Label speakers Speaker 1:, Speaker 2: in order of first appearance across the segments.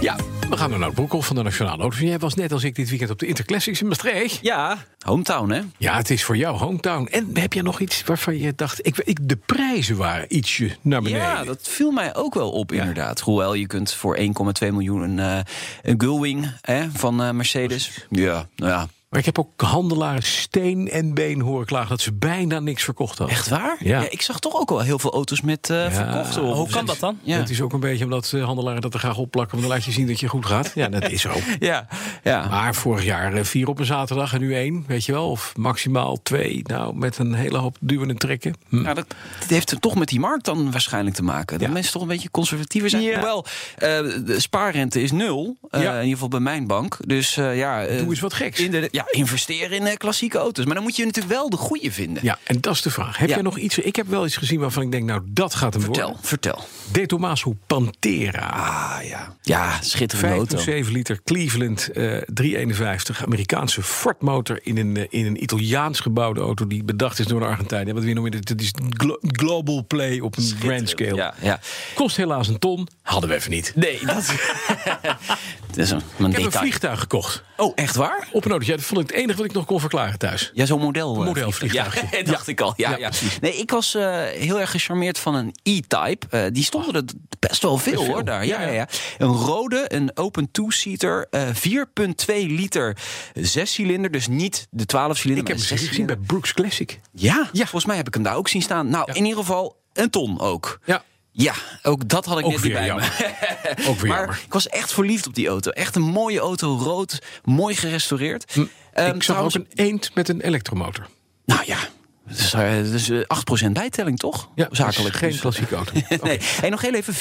Speaker 1: Ja, we gaan naar Nout Broekhoff van de Nationale Auto. Jij was net als ik dit weekend op de Interclassics in Maastricht.
Speaker 2: Ja, hometown hè?
Speaker 1: Ja, het is voor jou hometown. En heb je nog iets waarvan je dacht... Ik, ik, de prijzen waren ietsje naar beneden.
Speaker 2: Ja, dat viel mij ook wel op inderdaad. Hoewel, je kunt voor 1,2 miljoen een, eh, een Gullwing hè, van eh, Mercedes. Ja, nou ja.
Speaker 1: Maar ik heb ook handelaren steen en been horen klagen... dat ze bijna niks verkocht hadden.
Speaker 2: Echt waar?
Speaker 1: Ja.
Speaker 2: ik zag toch ook wel heel veel auto's met eh verkochte
Speaker 1: hoe
Speaker 2: honden.
Speaker 3: kan dat dan?
Speaker 2: Ja.
Speaker 1: Dat is ook een beetje omdat eh, handelaren dat er graag opplakken... om dan laat je zien dat je goed gaat. Ja, dat is zo.
Speaker 2: Ja, ja.
Speaker 1: Maar vorig jaar eh, vier op een zaterdag en nu één, weet je wel. Of maximaal twee, nou, met een hele hoop duwen en trekken. Hm.
Speaker 2: Nou, dat, dit heeft er toch met die markt dan waarschijnlijk te maken. Dat
Speaker 1: Ja.
Speaker 2: mensen toch een beetje conservatiever zijn.
Speaker 1: Ja.
Speaker 2: Hoewel, eh, de spaarrente is nul. eh,
Speaker 1: Ja.
Speaker 2: In ieder geval bij mijn bank. Dus eh, ja... eh,
Speaker 1: Doe eens wat geks.
Speaker 2: in de- ja, investeren in eh, klassieke auto's. Maar dan moet je natuurlijk wel de goede vinden.
Speaker 1: Ja, en dat is de vraag. Heb
Speaker 2: Ja.
Speaker 1: jij nog iets... Ik heb wel iets gezien waarvan ik denk, nou, dat gaat hem
Speaker 2: Vertel,
Speaker 1: worden.
Speaker 2: vertel.
Speaker 1: De Tomaso Pantera.
Speaker 2: Ah ja. Ja, schitterende auto.
Speaker 1: 5,7 liter Cleveland eh, 351. Amerikaanse Ford motor in een, eh, in een Italiaans gebouwde auto... die bedacht is door de Argentijnen. Wat weer noemen, dit is glo- global play op een grand scale.
Speaker 2: Ja, ja.
Speaker 1: Kost helaas een ton. Hadden we even niet.
Speaker 2: Nee, dat... Het is een, een
Speaker 1: Ik heb een
Speaker 2: detail.
Speaker 1: vliegtuig gekocht.
Speaker 2: Oh, echt waar?
Speaker 1: Op een auto. Ja, dat vond ik het enige wat ik nog kon verklaren thuis.
Speaker 2: Ja, zo'n model. eh,
Speaker 1: modelvliegtuigje.
Speaker 2: Ja, dacht ik al. Ja,
Speaker 1: Ja,
Speaker 2: ja,
Speaker 1: precies.
Speaker 2: Nee, ik was eh, heel erg gecharmeerd van een E-Type. Eh, die stonden er best wel veel,
Speaker 1: Best veel.
Speaker 2: hoor. Daar.
Speaker 1: Ja,
Speaker 2: Ja, ja,
Speaker 1: ja.
Speaker 2: ja. Een rode, een open two-seater, eh, 4,2 liter zescilinder. Dus niet de 12-cilinder,
Speaker 1: Ik heb
Speaker 2: maar
Speaker 1: hem zeker
Speaker 2: een
Speaker 1: gezien bij
Speaker 2: zescilinder.
Speaker 1: Brooks Classic.
Speaker 2: Ja, volgens mij heb ik hem daar ook zien staan. Nou, in ieder geval een ton ook.
Speaker 1: Ja,
Speaker 2: Ja, ook dat had ik
Speaker 1: ook
Speaker 2: net niet
Speaker 1: weer
Speaker 2: bij me.
Speaker 1: jammer. Ook weer
Speaker 2: Eh, Maar
Speaker 1: jammer.
Speaker 2: ik was echt verliefd op die auto. Echt een mooie auto, rood, mooi gerestaureerd. Ehm,
Speaker 1: Hm. ik zag
Speaker 2: trouwens-
Speaker 1: ook een eend met een elektromotor.
Speaker 2: Nou ja, dat is, eh, dat is eh, 8% bijtelling, toch?
Speaker 1: Ja,
Speaker 2: Zakelijk.
Speaker 1: zakelijk. Geen
Speaker 2: Dus-
Speaker 1: klassieke auto.
Speaker 2: Nee. En nog heel even,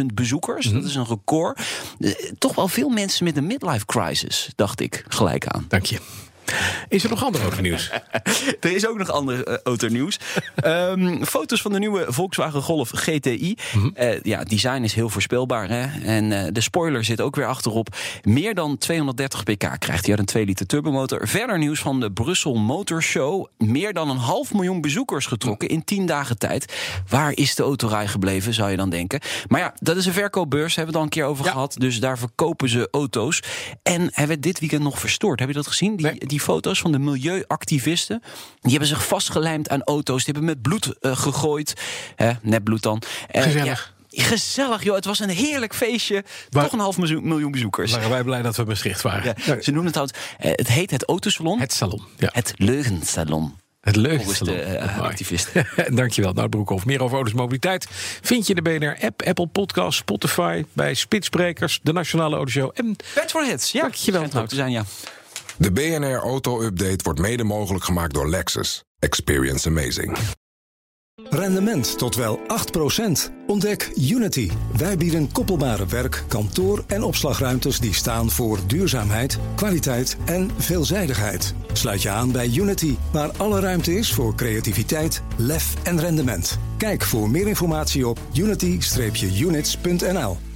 Speaker 2: 34.500 bezoekers.
Speaker 1: Mhm.
Speaker 2: Dat is een record. Eh, Toch wel veel mensen met een midlife crisis, dacht ik gelijk aan.
Speaker 1: Dank je. Is er nog ander auto nieuws?
Speaker 2: Er is ook nog ander eh, autonieuws. Ehm, foto's van de nieuwe Volkswagen Golf GTI. Eh, ja, het design is heel voorspelbaar. Hè? En eh, de spoiler zit ook weer achterop. Meer dan 230 pk krijgt hij uit een 2 liter turbomotor. Verder nieuws van de Brussel Motor Show. Meer dan een half miljoen bezoekers getrokken in 10 dagen tijd. Waar is de autorij gebleven, zou je dan denken. Maar ja, dat is een verkoopbeurs. Hebben we het al een keer over
Speaker 1: Ja.
Speaker 2: gehad. Dus daar verkopen ze auto's. En hij werd dit weekend nog verstoord. Heb je dat gezien? Die,
Speaker 1: Nee.
Speaker 2: die foto's van de milieuactivisten. Die hebben zich vastgelijmd aan auto's. Die hebben met bloed eh, gegooid. Hè, net bloed dan. Eh,
Speaker 1: Gezellig.
Speaker 2: ja, gezellig, joh. Het was een heerlijk feestje.
Speaker 1: Waar-
Speaker 2: Toch een half miljoen- miljoen bezoekers.
Speaker 1: Waren wij blij dat we Maastricht waren.
Speaker 2: Ja, ze noemen het trouwens... eh, het heet het Autosalon.
Speaker 1: Het salon. Ja. Het,
Speaker 2: het Leugensalon.
Speaker 1: leukste
Speaker 2: Volgens
Speaker 1: salon.
Speaker 2: de eh,
Speaker 1: Mooi.
Speaker 2: activisten.
Speaker 1: Dankjewel, Nout Broekhoff. Meer over auto's en mobiliteit vind je in de BNR-app, Apple Podcast, Spotify, bij Spitsprekers, de Nationale Autoshow en
Speaker 2: Bad for Hits. Ja,
Speaker 1: Dankjewel,
Speaker 2: schijnt ook te zijn, ja.
Speaker 4: De BNR Auto Update wordt mede mogelijk gemaakt door Lexus. Experience amazing.
Speaker 5: Rendement tot wel 8%. Ontdek Unity. Wij bieden koppelbare werk, kantoor en opslagruimtes die staan voor duurzaamheid, kwaliteit en veelzijdigheid. Sluit je aan bij Unity, waar alle ruimte is voor creativiteit, lef en rendement. Kijk voor meer informatie op unity-units.nl.